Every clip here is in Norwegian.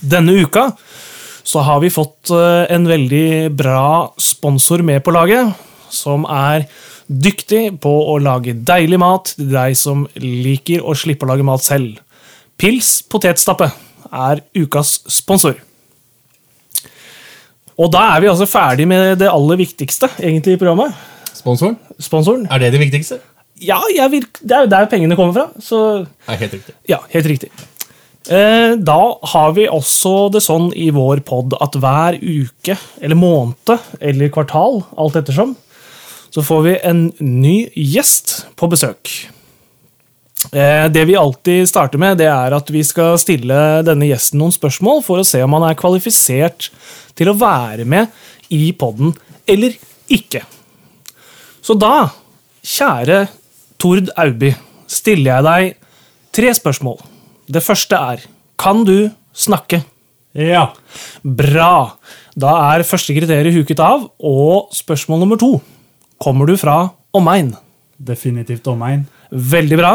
Denne uka så har vi fått eh, en veldig bra sponsor med på laget, som er dyktig på å lage deilig mat til deg som liker å slippe å lage mat selv. Pils potetstappe er ukas sponsor. Og da er vi altså ferdig med det aller viktigste egentlig i programmet. Sponsoren? Sponsoren. Er det det viktigste? Ja, jeg vil, det er jo der pengene kommer fra. Så Nei, helt riktig. ja, helt riktig. Eh, Da har vi også det sånn i vår pod at hver uke, eller måned, eller kvartal, alt ettersom, så får vi en ny gjest på besøk. Eh, Det vi alltid starter med, det er at vi skal stille denne gjesten noen spørsmål for å se om han er kvalifisert til å være med i poden eller ikke. Så da, kjære Tord Auby, stiller jeg deg tre spørsmål. Det første er Kan du snakke? Ja. Bra! Da er første kriteriet huket av. Og spørsmål nummer to. Kommer du fra omegn? Definitivt omegn. Veldig bra.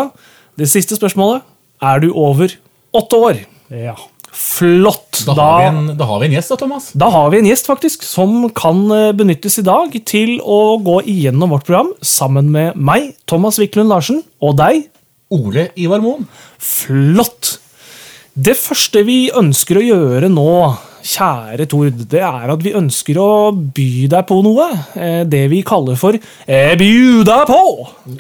Det siste spørsmålet. Er du over åtte år? Ja. Flott! Da, har, vi en, da har vi en gjest, da, Thomas. Da har vi en gjest faktisk som kan eh, benyttes i dag til å gå igjennom vårt program sammen med meg, Thomas Wiklund Larsen, og deg, Ole Ivar Moen. Flott! Det første vi ønsker å gjøre nå, kjære Tord, det er at vi ønsker å by deg på noe. Eh, Det vi kaller for eh, bjuda på!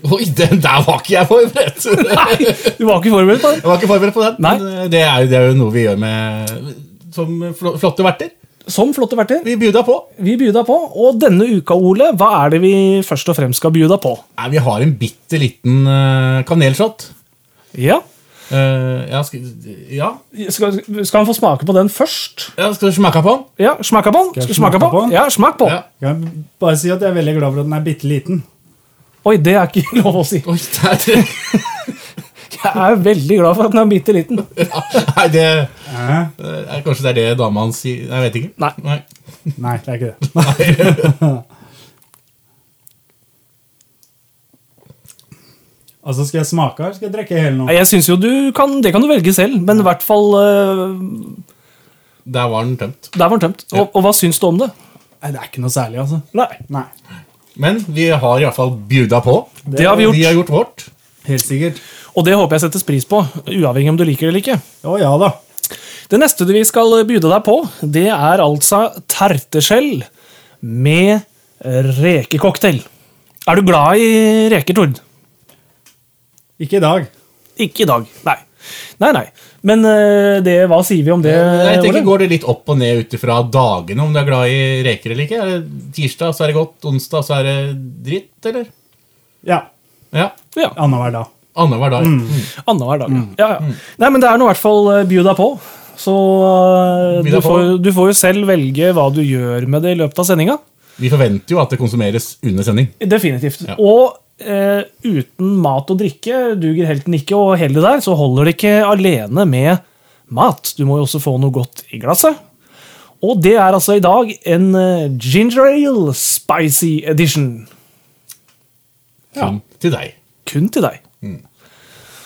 Oi, den der var ikke jeg forberedt! Nei, du var ikke forberedt på det? Jeg var ikke forberedt på den. Nei. Men eh, det er, jo- det er jo noe vi gjør med som fl- flotte verter. Som Sånn flotte verter. Vi bjuda på. Vi byr deg på, og denne uka, Ole, hva er det vi først og fremst skal by deg på? Nei, vi har en bitte liten eh, kanelshot. Ja, Eh, ja, skal, ja. skal, skal han få smake på den først? ja, skal du smake på den? Ja, smak på den. Skal jeg Skal du smake smake på på den? den? Ja, smak på den. Ja. Jeg kan bare si at jeg er veldig glad for at den er bitte liten. Oi, det er ikke lov å si. Oi, det er, Jeg er veldig glad for at den er bitte liten. ja, nei, det Hæ? eh, Kanskje det er det dama hans sier Nei, Jeg vet ikke. Nei. Nei, det er ikke det. Altså, skal jeg smake her? Skal jeg drikke hele nå? Nei, Jeg synes jo du kan, Det kan du velge selv, men i hvert fall eh, Der var den tømt. Der var den tømt. Og, og hva syns du om det? Nei, det er ikke noe særlig, altså. Nei, Nei, Men vi har iallfall bjuda på. Det har vi gjort. Eh, Vi har gjort vårt. helt sikkert. Og det håper jeg settes pris på, uavhengig om du liker det eller ikke. Å ja da. Det neste vi skal bjude deg på, det er altså terteskjell med rekecocktail. Er du glad i reker, Tord? Ikke i dag. Ikke i dag. Nei. Nei, nei. Men eh, det, hva sier vi om det? Jeg tenker, Ole? Går det litt opp og ned ut ifra dagene, om du er glad i reker eller ikke? Er det tirsdag, så er det godt. Onsdag, så er det dritt, eller? Ja. Ja. Ja, Annenhver dag. Annenhver dag. Mm. Annenhver dag. Mm. Ja, ja. Nei, men det er nå i hvert fall eh, bjuda på. Så eh, Bjuda du på. får, du får jo selv velge hva du gjør med det i løpet av sendinga. Vi forventer jo at det konsumeres under sending. Definitivt. Ja. Og eh, uten mat og drikke duger helten ikke, og hele det der, så holder det ikke alene med mat. Du må jo også få noe godt i glasset. Og det er altså i dag en eh, ginger ale spicy edition. Ja. Til deg. Kun til deg.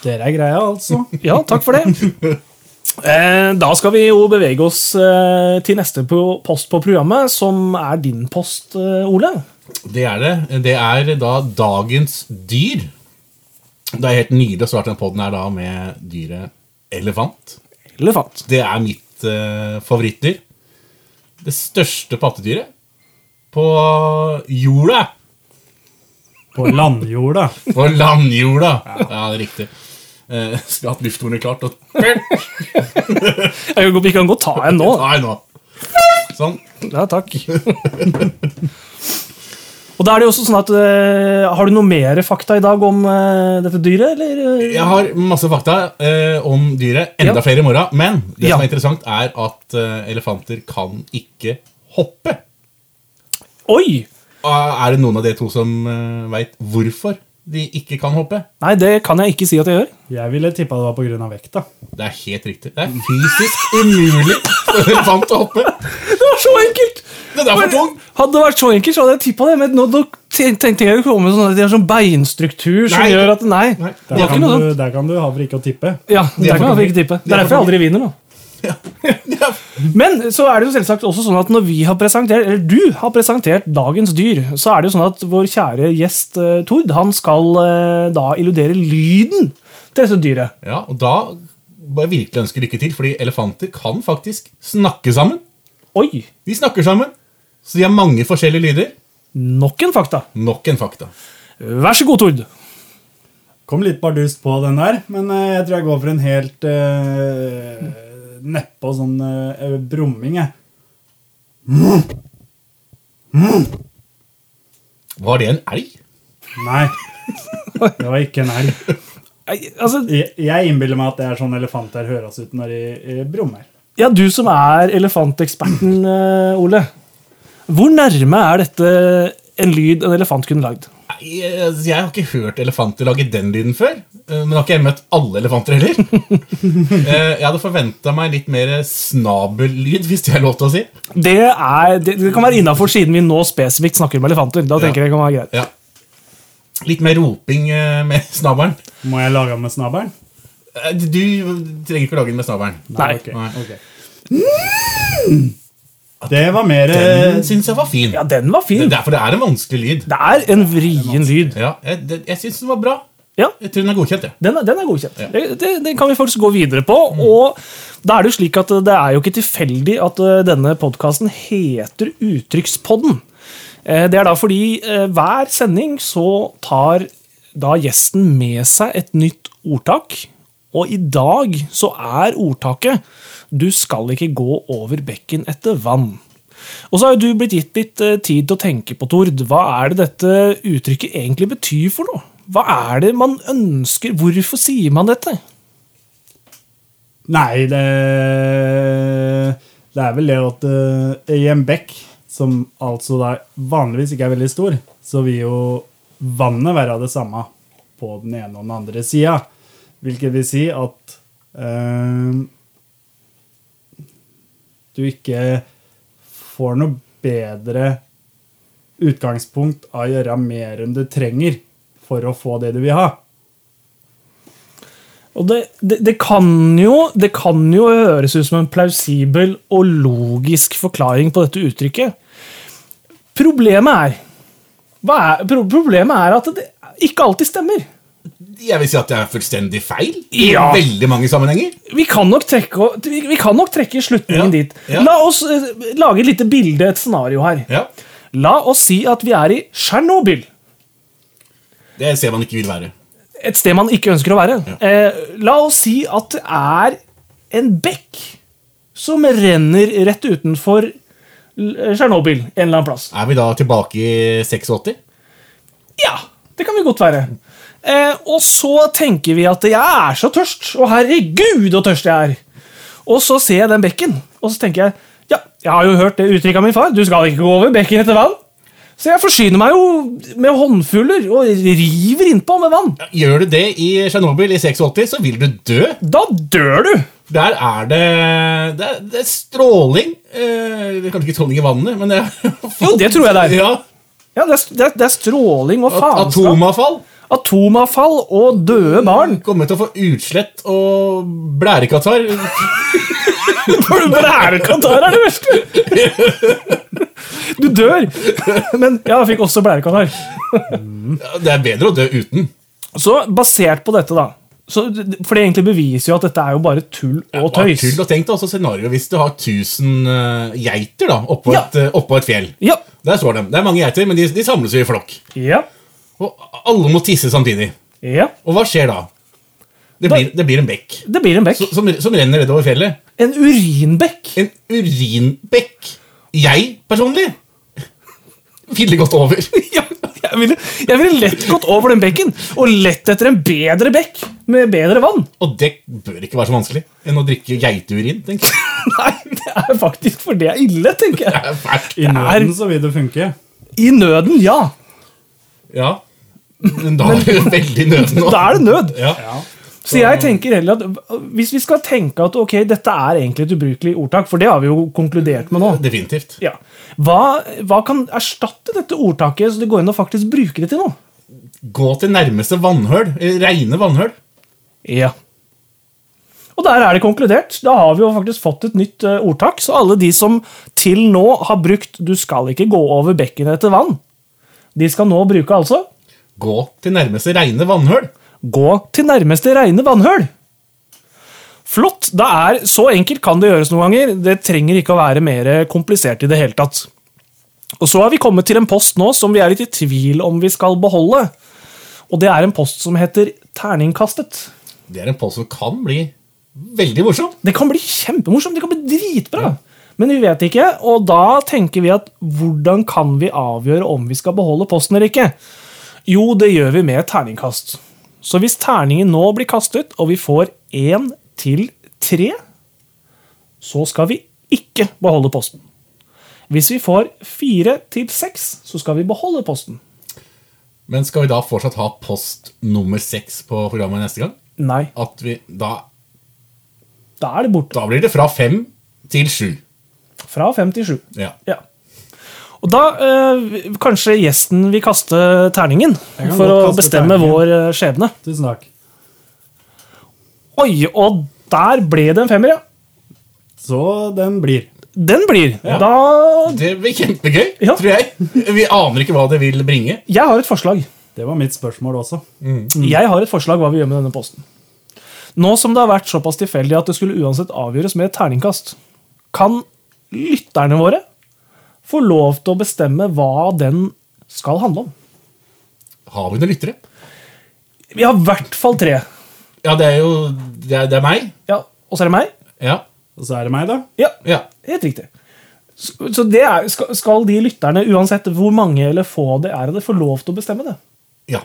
Dere er greia, altså. Ja, takk for det. Eh, Da skal vi jo bevege oss eh, til neste po- post på programmet, som er din post, eh, Ole. Det er det. Det er da dagens dyr. Det er helt nydelig å starte den podden her da med dyret elefant. Elefant. Det er mitt eh, favorittdyr. Det største pattedyret på jorda. På landjorda. På landjorda. Ja, det er riktig. Eh, skulle hatt lufthornet klart og Jeg- Vi kan godt ta en nå. Nei, nå. Sånn. Ja, takk. Og da er det jo også sånn at eh, Har du noe mer fakta i dag om eh, dette dyret, eller? Jeg har masse fakta eh, om dyret. Enda Ja. flere i morgen. Men det Ja. som er interessant, er at eh, elefanter kan ikke hoppe. Oi! Ah, Er det noen av dere to som uh, veit hvorfor de ikke kan hoppe? Nei, det kan jeg ikke si at jeg gjør. Jeg ville tippa det var pga. vekta. Det er helt riktig. Det er fysisk umulig for en elefant å hoppe. Det var så enkelt! Den er for tung! Hadde det vært så enkelt, så hadde jeg tippa det. Men nå nå ten- tenkte jeg jo komme med sånn at de har sånn beinstruktur som Nei. gjør at Nei. Nei, Det Der var kan, ikke noe du, sånt. der kan du ha for ikke å tippe. Ja, er der kan for jeg dumme. ikke tippe. De Det er er for derfor jeg aldri vinner, da. Ja. Men så er det jo selvsagt også sånn at når vi har presentert, eller du har presentert dagens dyr, så er det jo sånn at vår kjære gjest eh, Tord, han skal eh, da illudere lyden til dette dyret. Ja, og da må jeg virkelig ønske lykke til, fordi elefanter kan faktisk snakke sammen. Oi! De snakker sammen, så de har mange forskjellige lyder. Nok en fakta. Nok en fakta. Vær så god, Tord. Kom litt bardust på den der, men eh, jeg tror jeg går for en helt uh, neppe og sånn eh, brumming, jeg. Var det en elg? Nei. Det var ikke en elg. Nei, Altså, Jeg- Jeg innbiller meg at det er sånn elefanter høres ut når de eh, brummer. ja, du som er elefanteksperten, eh, Ole. Hvor nærme er dette en lyd en elefant kunne lagd? Nei, Jeg jeg har ikke hørt elefanter lage den lyden før. eh, Men har ikke jeg møtt alle elefanter heller. Eh, Jeg hadde forventa meg litt mer snabellyd, hvis det er lov til å si. Det, er, det, det kan være innafor, siden vi nå spesifikt snakker om elefanter. Da tenker jeg det kan være greit. Ja. Litt mer roping eh, med snabelen. Må jeg lage den med snabelen? Eh, Du trenger ikke å lage den med snabelen. Nei. ok, Nei. ok. Mm! Det var mer eh, Den syns jeg var fin. Ja, den var Mm. Det fin. er derfor det er en vanskelig lyd. Det er en vrien lyd. Ja, jeg, det- jeg syns den var bra. Ja, Jeg tror den er godkjent. jeg. Den er, den er godkjent. Ja. Mm. Det, det, den kan vi faktisk gå videre på. Og da er det jo slik at eh, det er jo ikke tilfeldig at eh, denne podkasten heter Uttrykkspodden. Eh, Det er da fordi eh, hver sending så tar da gjesten med seg et nytt ordtak. Og i dag så er ordtaket 'Du skal ikke gå over bekken etter vann'. Og så har jo du blitt gitt litt eh, tid til å tenke på, Tord. Hva er det dette uttrykket egentlig betyr for noe? Hva er det man ønsker? Hvorfor sier man dette? Nei, det Det er vel det at eh, i en bekk, som altså da vanligvis ikke er veldig stor, så vil jo vannet være det samme på den ene og den andre sida. Hvilket vil si at eh, du ikke får noe bedre utgangspunkt av å gjøre mer enn du trenger for å få det du vil ha. Og det, det, det, kan jo, det kan jo høres ut som en plausibel og logisk forklaring på dette uttrykket. Problemet er, hva er, pro problemet er at det ikke alltid stemmer. Jeg vil si at det er fullstendig feil. Ja. I veldig mange sammenhenger. Vi kan nok trekke, vi vi kan nok trekke slutningen Ja, dit. ja. La oss eh, lage et lite bilde, et scenario her. Ja. La oss si at vi er i Tsjernobyl. Det ser man ikke vil være. et sted man ikke ønsker å være. Eh, la oss si at det er en bekk som renner rett utenfor L- Tsjernobyl en eller annen plass. Er vi da tilbake i 86? Ja, det kan vi godt være. Eh, og så tenker vi at jeg er så tørst, og herregud så tørst jeg er. Og så ser jeg den bekken, og så tenker jeg ja, jeg har jo hørt det uttrykket av min far, du skal ikke gå over bekken etter vann. Så jeg forsyner meg jo med håndfuller og river innpå med vann. Gjør du det i Tsjernobyl i 86, så vil du dø. Da dør du! Der er det Det er, det er stråling. Eh, det er kanskje ikke stråling i vannet, men det er Jo, det tror jeg det er. Ja, Ja, det er, det er, det er stråling og at- faenskap. Atomavfall. Atomavfall og døde barn. Kommer til å få utslett og blærekatarr. For du Blærekatarr er det verste! Du dør. Men ja, jeg fikk også blærekatarr. Det er bedre å dø uten. Så basert på dette, da så, For det egentlig beviser jo at dette er jo bare tull og Bare tøys. Tull og tenk deg også scenarioet hvis du har 1000 eh, geiter da, oppå, Ja. et, eh, oppå et fjell. Ja. Der står de. Det er mange geiter, men de, de samles jo i flokk. Ja. Og alle må tisse samtidig. ja. Og hva skjer da? Det Da- blir, det blir en bekk Det blir en bekk. som, som renner nedover fjellet. En urinbekk. En urinbekk. Jeg personlig ville gått over. Ja, jeg ville, jeg ville lett gått over den bekken og lett etter en bedre bekk med bedre vann. Og det bør ikke være så vanskelig enn å drikke geiteurin. tenker jeg. Nei, det er faktisk for det er ille, tenker Det jeg. er fælt. I nøden så vil det funke. I nøden, ja. Ja. Men da er det veldig nødvendig. Da er det nød. Ja. Så jeg tenker heller at hvis vi skal tenke at ok, dette er egentlig et ubrukelig ordtak, for det har vi jo konkludert med nå Definitivt. ja. hva, hva kan erstatte dette ordtaket, så det går inn å faktisk bruke det til noe? Gå til nærmeste vannhøl. eh, Reine vannhøl. Ja. Og der er det konkludert. Da har vi jo faktisk fått et nytt eh, ordtak. Så alle de som til nå har brukt 'du skal ikke gå over bekken etter vann', de skal nå bruke altså Gå til nærmeste reine vannhøl. 'gå til nærmeste reine vannhøl'. Flott! Da er Så enkelt kan det gjøres noen ganger. Det trenger ikke å være mer komplisert i det hele tatt. Og så har vi kommet til en post nå som vi er litt i tvil om vi skal beholde. Og det er en post som heter 'Terningkastet'. Det er en post som kan bli veldig morsom. Det kan bli kjempemorsomt, det kan bli dritbra. Men vi vet ikke, og da tenker vi at hvordan kan vi avgjøre om vi skal beholde posten eller ikke? Jo, det gjør vi med et terningkast. Så hvis terningen nå blir kastet, og vi får én til tre, så skal vi ikke beholde posten. Hvis vi får fire til seks, så skal vi beholde posten. Men skal vi da fortsatt ha post nummer seks på programmet neste gang? Nei, At vi, da, da er det borte. da blir det fra fem til sju. Fra fem til sju. Ja. Ja. Og da eh, kanskje gjesten vil kaste terningen Jeg kan for å godt kaste bestemme terningen. vår eh, skjebne. Tusen takk. Oi, og der ble det en femmer, ja. Så den blir. Den blir. Da Det blir kjempegøy, Ja. tror jeg. Vi aner ikke hva det vil bringe. Jeg har et forslag. Det var mitt spørsmål også. Mm. Jeg har et forslag hva vi gjør med denne posten. Nå som det har vært såpass tilfeldig at det skulle uansett avgjøres med et terningkast, kan lytterne våre få lov til å bestemme hva den skal handle om. Har vi noen lyttere? Vi har i hvert fall tre. Ja, det er jo Det er, det er meg. Ja, og så er det meg. Ja. Og så er det meg, da. Ja, ja. Helt riktig. Så så det er, skal- skal de lytterne, uansett hvor mange eller få det er av det, få lov til å bestemme det? Ja.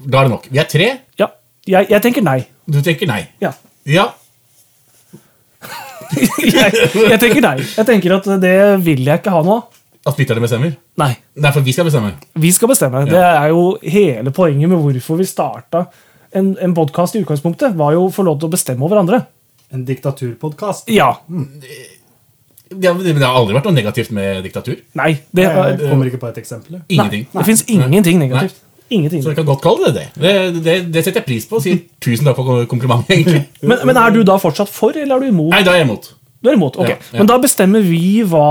Da er det nok. Vi er tre. Ja. Jeg, jeg tenker nei. Du tenker nei. Ja. Ja. Jeg, jeg tenker nei. Jeg tenker at det vil jeg ikke ha nå. At lytterne bestemmer? Nei. Nei, for vi skal bestemme. Vi skal bestemme. Det er jo hele poenget med hvorfor vi starta en, en podkast i utgangspunktet. Var jo å få lov til å bestemme over andre. En diktaturpodkast. Ja. Det har, det har aldri vært noe negativt med diktatur. Nei. Det, er- Jeg kommer ikke på et eksempel. jeg. nei, Ingenting. det fins ingenting negativt. Ingenting. Så vi kan godt kalle det det. Det, det, det setter jeg pris på. og Sier tusen takk for komplimentet, egentlig. Men, men er du da fortsatt for, eller er du imot? Nei, da er jeg imot. Du er imot, ok. Ja, ja. Men da bestemmer vi hva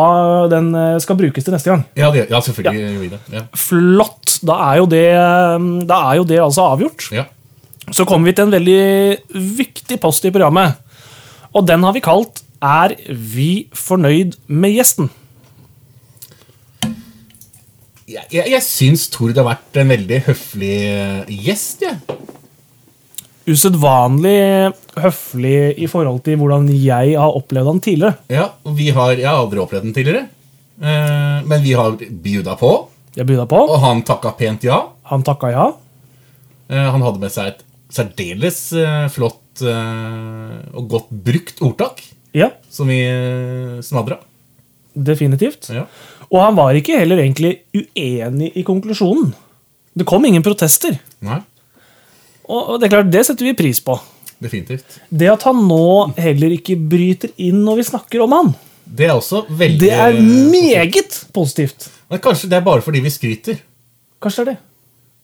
den eh, skal brukes til neste gang. Ja, det, ja selvfølgelig gjør vi det. Ja. Flott! Da er jo det, eh, da er jo det altså avgjort. Ja. Så kommer vi til en veldig viktig post i programmet. Og den har vi kalt Er vi fornøyd med gjesten? Jeg, jeg, jeg syns Tord har vært en veldig høflig eh, gjest, jeg. Usedvanlig høflig i forhold til hvordan jeg har opplevd han tidligere. Ja, og vi har, jeg har aldri opplevd den tidligere. Eh, men vi har bjuda på, Jeg byr deg på. og han takka pent ja. Han takka ja. Eh, han hadde med seg et særdeles eh, flott eh, og godt brukt ordtak Ja, som vi uh, smadra. definitivt. Ja. Og han var ikke heller egentlig uenig i konklusjonen. Det kom ingen protester. Nei, Og og det er klart, det setter vi pris på. definitivt. Det at han nå heller ikke bryter inn når vi snakker om han, Det er også veldig det er meget positivt. Men Kanskje det er bare fordi vi skryter. Kanskje det er det.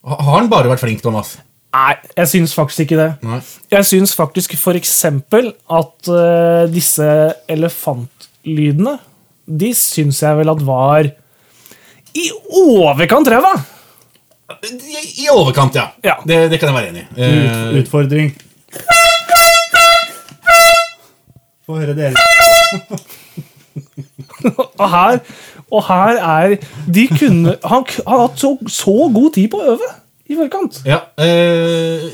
Ha- Har han bare vært flink, Thomas? Nei, jeg syns faktisk ikke det. Nei. Jeg syns faktisk f.eks. at eh, disse elefantlydene De syns jeg vel at var i overkant ræva! I, i overkant, ja. Ja. Det, det kan jeg være enig i. Eh, Ut, utfordring. Få høre dere. Og her, og her er De kunne Han k- han har hatt så, så god tid på å øve i forkant. ja, eh,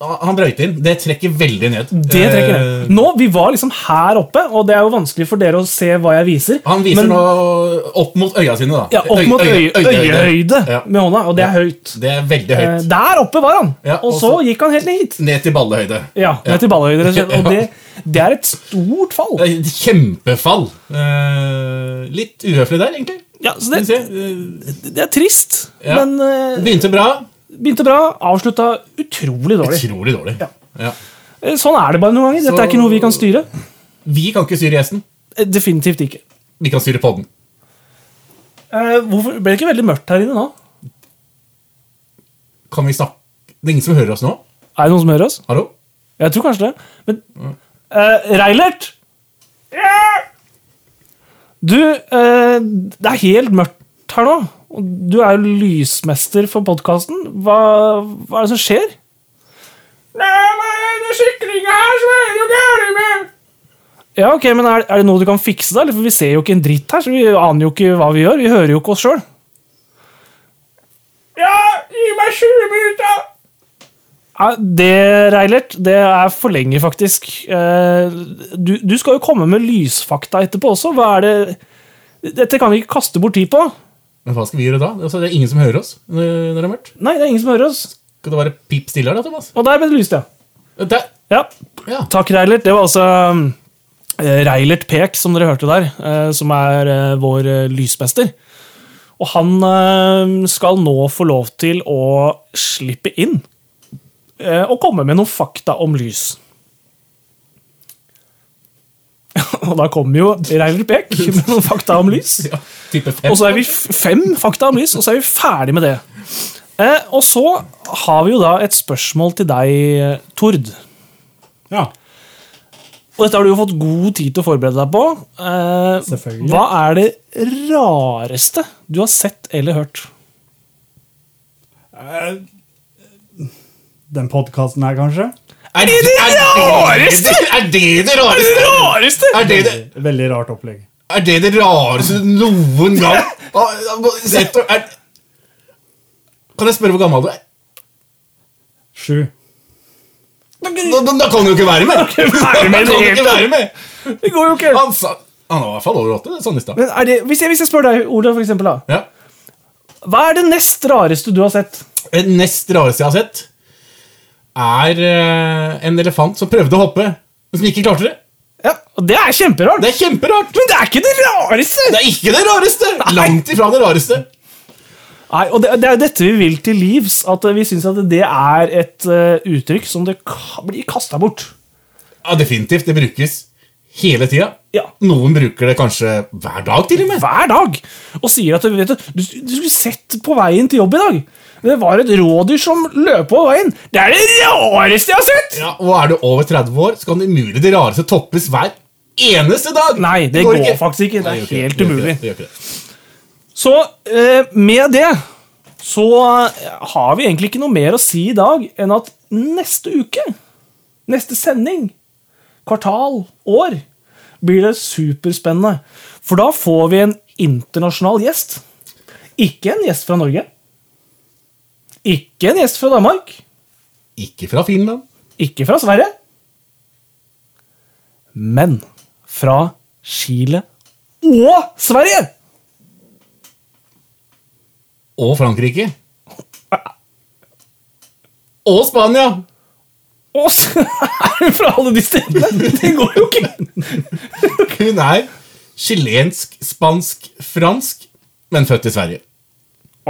Han brøyter inn. Det trekker veldig ned. Det trekker Eh, ned. Nå, Vi var liksom her oppe, og det er jo vanskelig for dere å se hva jeg viser. Han viser men- nå opp mot øya sine, da. ja, opp mot øye, øyehøyde Ja. med hånda, og det er Ja. høyt. Det er veldig Eh, høyt. Der oppe var han, Ja, og og så så- gikk han helt ned hit. Ned til ballehøyde. Ja, Ja. ned til ballehøyde, rett og slett. Og Ja. det, det er et stort fall. Det er et Kjempefall. Eh, litt uhøflig der, egentlig. Ja, så Skal vi det, se. Eh, det er trist, Ja. men eh, Begynte bra. begynte bra, avslutta utrolig dårlig. Utrolig dårlig. Ja. Ja. Eh, Sånn er det bare noen ganger. Dette er Så- ikke noe vi kan styre. Vi kan ikke styre gjesten. Eh, Definitivt ikke. Vi kan styre podden. Eh, Hvorfor ble det ikke veldig mørkt her inne nå? Kan vi snakke Det er ingen som hører oss nå? Er det noen som hører oss? Hallo? Jeg tror kanskje det. Men eh, Reilert! Du, eh, det er helt mørkt her nå. Og Du er jo lysmester for podkasten. Hva, hva er det som skjer? Ja, ok, men er, er det noe du kan fikse, da? Eller, For vi ser jo ikke en dritt her, så vi aner jo ikke hva vi gjør. Vi hører jo ikke oss sjøl. Ja, det, Reilert, det er for lenge, faktisk. Eh, Du, du skal jo komme med lysfakta etterpå også. Hva er det Dette kan vi ikke kaste bort tid på. Men hva skal vi gjøre da? Altså, det er ingen som hører oss når når det er mørkt. Nei, det er ingen som hører oss. Skal det være pip stille her, da, Thomas? Og der ble det lyst, ja. Der. ja. Ja. Takk, Reilert. Det var altså eh, Reilert Pek, som dere hørte der, eh, som er eh, vår eh, lysmester. Og han eh, skal nå få lov til å slippe inn eh, og komme med noen fakta om lys. Og da kommer jo Reilert Pek med noen fakta om lys. Ja, type fem. Og så er vi f- fem fakta om lys, og så er vi ferdig med det. Eh, og så har vi jo da et spørsmål til deg, eh, Tord. Ja. Og dette har du jo fått god tid til å forberede deg på. Eh, Selvfølgelig. Hva er det rareste du har sett eller hørt? Eh, Den podkasten her, kanskje? Er det rareste? Er det det rareste? Rareste? Er det det, Veldig rart opplegg. er det, det rareste du noen gang har sett? og- Er, kan jeg spørre hvor gammel du er? Sju. Da, da, da kan du jo ikke være med! kan ikke være med i det Da kan du hele ikke tatt. være med. Det går jo ikke. Han, sa, han var i hvert fall over åtte, sånn i stad. Men er det, hvis, jeg, hvis jeg spør deg, Olav, for eksempel, da. Ja. Hva er det nest rareste du har sett? Det Eh, nest rareste jeg har sett, er eh, en elefant som prøvde å hoppe, men som ikke klarte det. Ja, og Det er kjemperart. Det er kjemperart! Men det er ikke det rareste! Det er ikke det rareste! Langt ifra det rareste. Nei, og det, det er jo dette vi vil til livs. At vi syns at det er et eh, uttrykk som det ka blir kasta bort. Ja, definitivt. Det brukes hele tida. Ja. Noen bruker det kanskje hver dag, til og med. Hver dag! Og sier at vet du, du, du skulle sett på veien til jobb i dag. Det var et rådyr som løp på veien. Det er det rareste jeg har sett! Ja, og er du over 30 år, så kan det umulig det rareste toppes hver eneste dag. Nei, det går faktisk ikke. Det Nei, er gjør helt ikke det. Det gjør umulig. ikke det. Det gjør ikke det. Så eh, med det så eh, har vi egentlig ikke noe mer å si i dag enn at neste uke, neste sending, kvartal, år, blir det superspennende. For da får vi en internasjonal gjest. Ikke en gjest fra Norge. Ikke en gjest fra Danmark. Ikke fra Finland. Ikke fra Sverige. Men fra Chile OG Sverige! Og Frankrike. Og Spania. Og så er hun fra alle de stedene! Det går jo ikke! Hun er chilensk, spansk, fransk, men født i Sverige.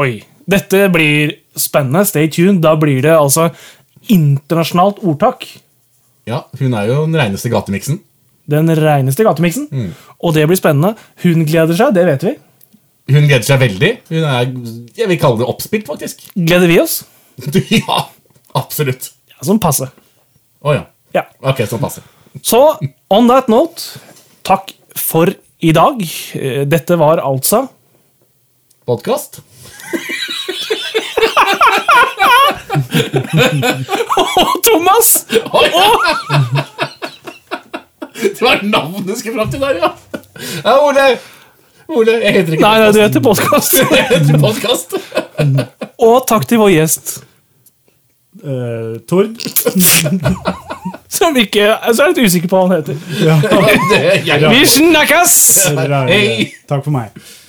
Oi. Dette blir spennende. Stay tuned. Da blir det altså internasjonalt ordtak. Ja, Hun er jo den reineste gatemiksen. Den reineste gatemiksen. Og det blir spennende. Hun gleder seg, det vet vi. Hun gleder seg veldig. Hun er jeg vil kalle det oppspilt, faktisk. Gleder vi oss? Ja, absolutt. Ja, Som passe. Å ja. Ja. Ok, sånn passer. Så on that note, takk for i dag. Eh, Dette var altså Podkast? Thomas! Å ja! Det var navnet du skulle fram til der, ja. ja Ole. Ole, jeg heter ikke Nei, nei, du heter podkast. Jeg heter Podkast. Og takk til vår gjest. eh, Tord. Som ikke Så er jeg litt usikker på hva han heter. Ja, Det er jeg. Vi snakkes! eller er det- Hei! Takk for meg.